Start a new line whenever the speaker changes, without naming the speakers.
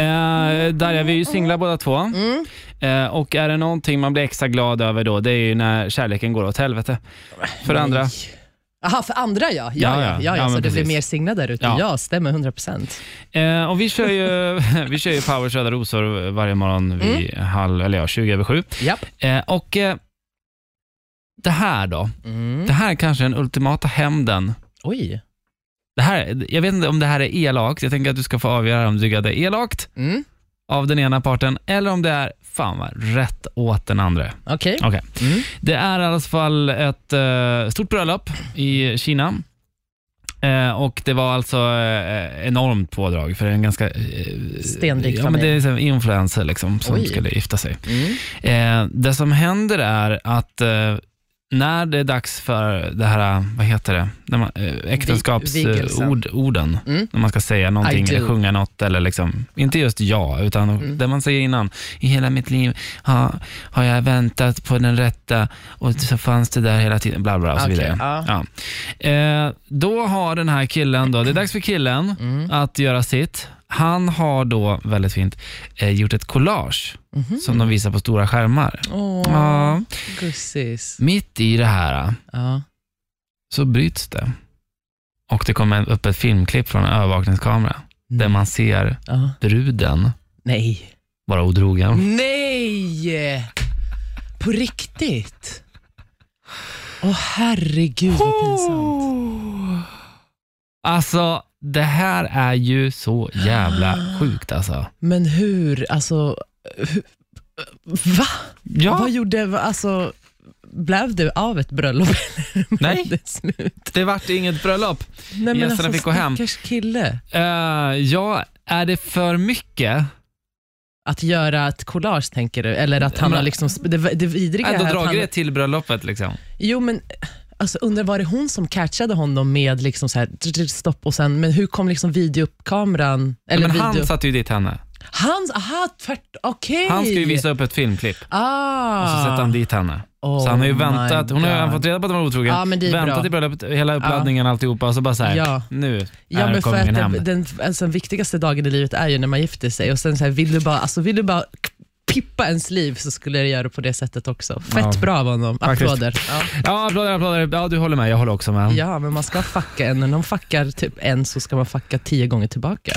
Eh, där är vi ju singlar båda två.
Mm.
Eh, och är det någonting man blir extra glad över då, det är ju när kärleken går åt helvete. För det andra.
Jaha, för andra ja. Ja, ja, ja, ja,
Ja,
så
men
det blir
precis.
mer singlar där ute. Ja.
Ja.
stämmer 100 procent.
Eh, och vi kör ju, vi kör ju Powers röda rosor varje morgon vid halv, eller ja, 20 över sju.
Japp.
Eh, och eh, det här då,
Mm.
det här kanske är den ultimata hämnden.
Oj.
Det här, jag vet inte om det här är elakt, jag tänker att du ska få avgöra om du tycker att det är elakt
Mm.
av den ena parten eller om det är fan vad rätt åt den andra.
Okej.
Okej.
Mm.
Det är i alla fall ett eh, stort bröllop i Kina. Eh, och Det var alltså eh, enormt pådrag för en ganska... Eh,
Stenrik
ja, men Det är
familj.
en influencer liksom, som
Oj.
skulle gifta sig.
Mm.
Eh, det som händer är att eh, när det är dags för det här, vad heter det, när man, eh,
vigelsen.
äktenskapsorden, orden,
Mm.
när man ska säga någonting
I do. Mm.
eller sjunga något eller liksom, inte just ja, utan det man säger innan. I hela mitt liv har, har jag väntat på den rätta och så fanns det där hela tiden, bla bla och så
Okej,
vidare.
ja.
Ja. Eh, då har den här killen då, det är dags för
Mm.
killen att göra sitt. Han har då, väldigt fint, eh, gjort ett collage som de visar på stora skärmar.
Mhm. Åh,
Ja.
gussis.
Mitt i det här äh,
Ja.
så bryts det. Och det kommer upp ett filmklipp från en övervakningskamera där man ser
Ja.
bruden
Nej.
vara otrogen.
Nej! På riktigt? Åh herregud vad pinsamt.
Alltså, det här är ju så jävla sjukt alltså.
Men hur, alltså, hur, va?
Ja,
Vad gjorde, alltså, blev du av ett bröllop? eller blev
Nej.
det slut?
det vart inget bröllop.
Nej men
Gästerna
alltså
fick gå hem.
stackars kille.
Eh, ja, är det för mycket?
Att göra ett collage tänker du? Eller att han
Men-
har liksom, det, det vidriga
Ändå
är att
dragit
han,
det till bröllopet liksom.
Jo men, alltså, undrar var det hon som catchade honom med liksom så här, tr- tr- stopp och sen, men hur kom liksom videokameran? Eller
Men
video,
han satte ju dit henne.
Hans, aha, tvärt, okej.
Han ska ju visa upp ett filmklipp.
Ah.
Och så sätter han dit henne.
Oh
så han har ju
my
väntat, hon har ju
God.
redan fått reda på att han var otrogen,
Ja, men det är
väntat
bra.
i bröllopet, hela uppladdningen alltihopa och så bara såhär,
Ja.
nu
Ja, men
är
för att
kommer hem.
den, den alltså, den viktigaste dagen i livet är ju när man gifter sig och sen så här, vill du bara, alltså, vill du bara k- pippa ens liv så skulle jag göra det på det sättet också. Fett
Ja.
bra av honom.
Faktiskt.
Applåder. Ja.
Ja, applåder, applåder. Ja, du håller med, jag håller också med.
ja, men man ska fucka en. När någon fuckar typ en så ska man fucka tio gånger tillbaka.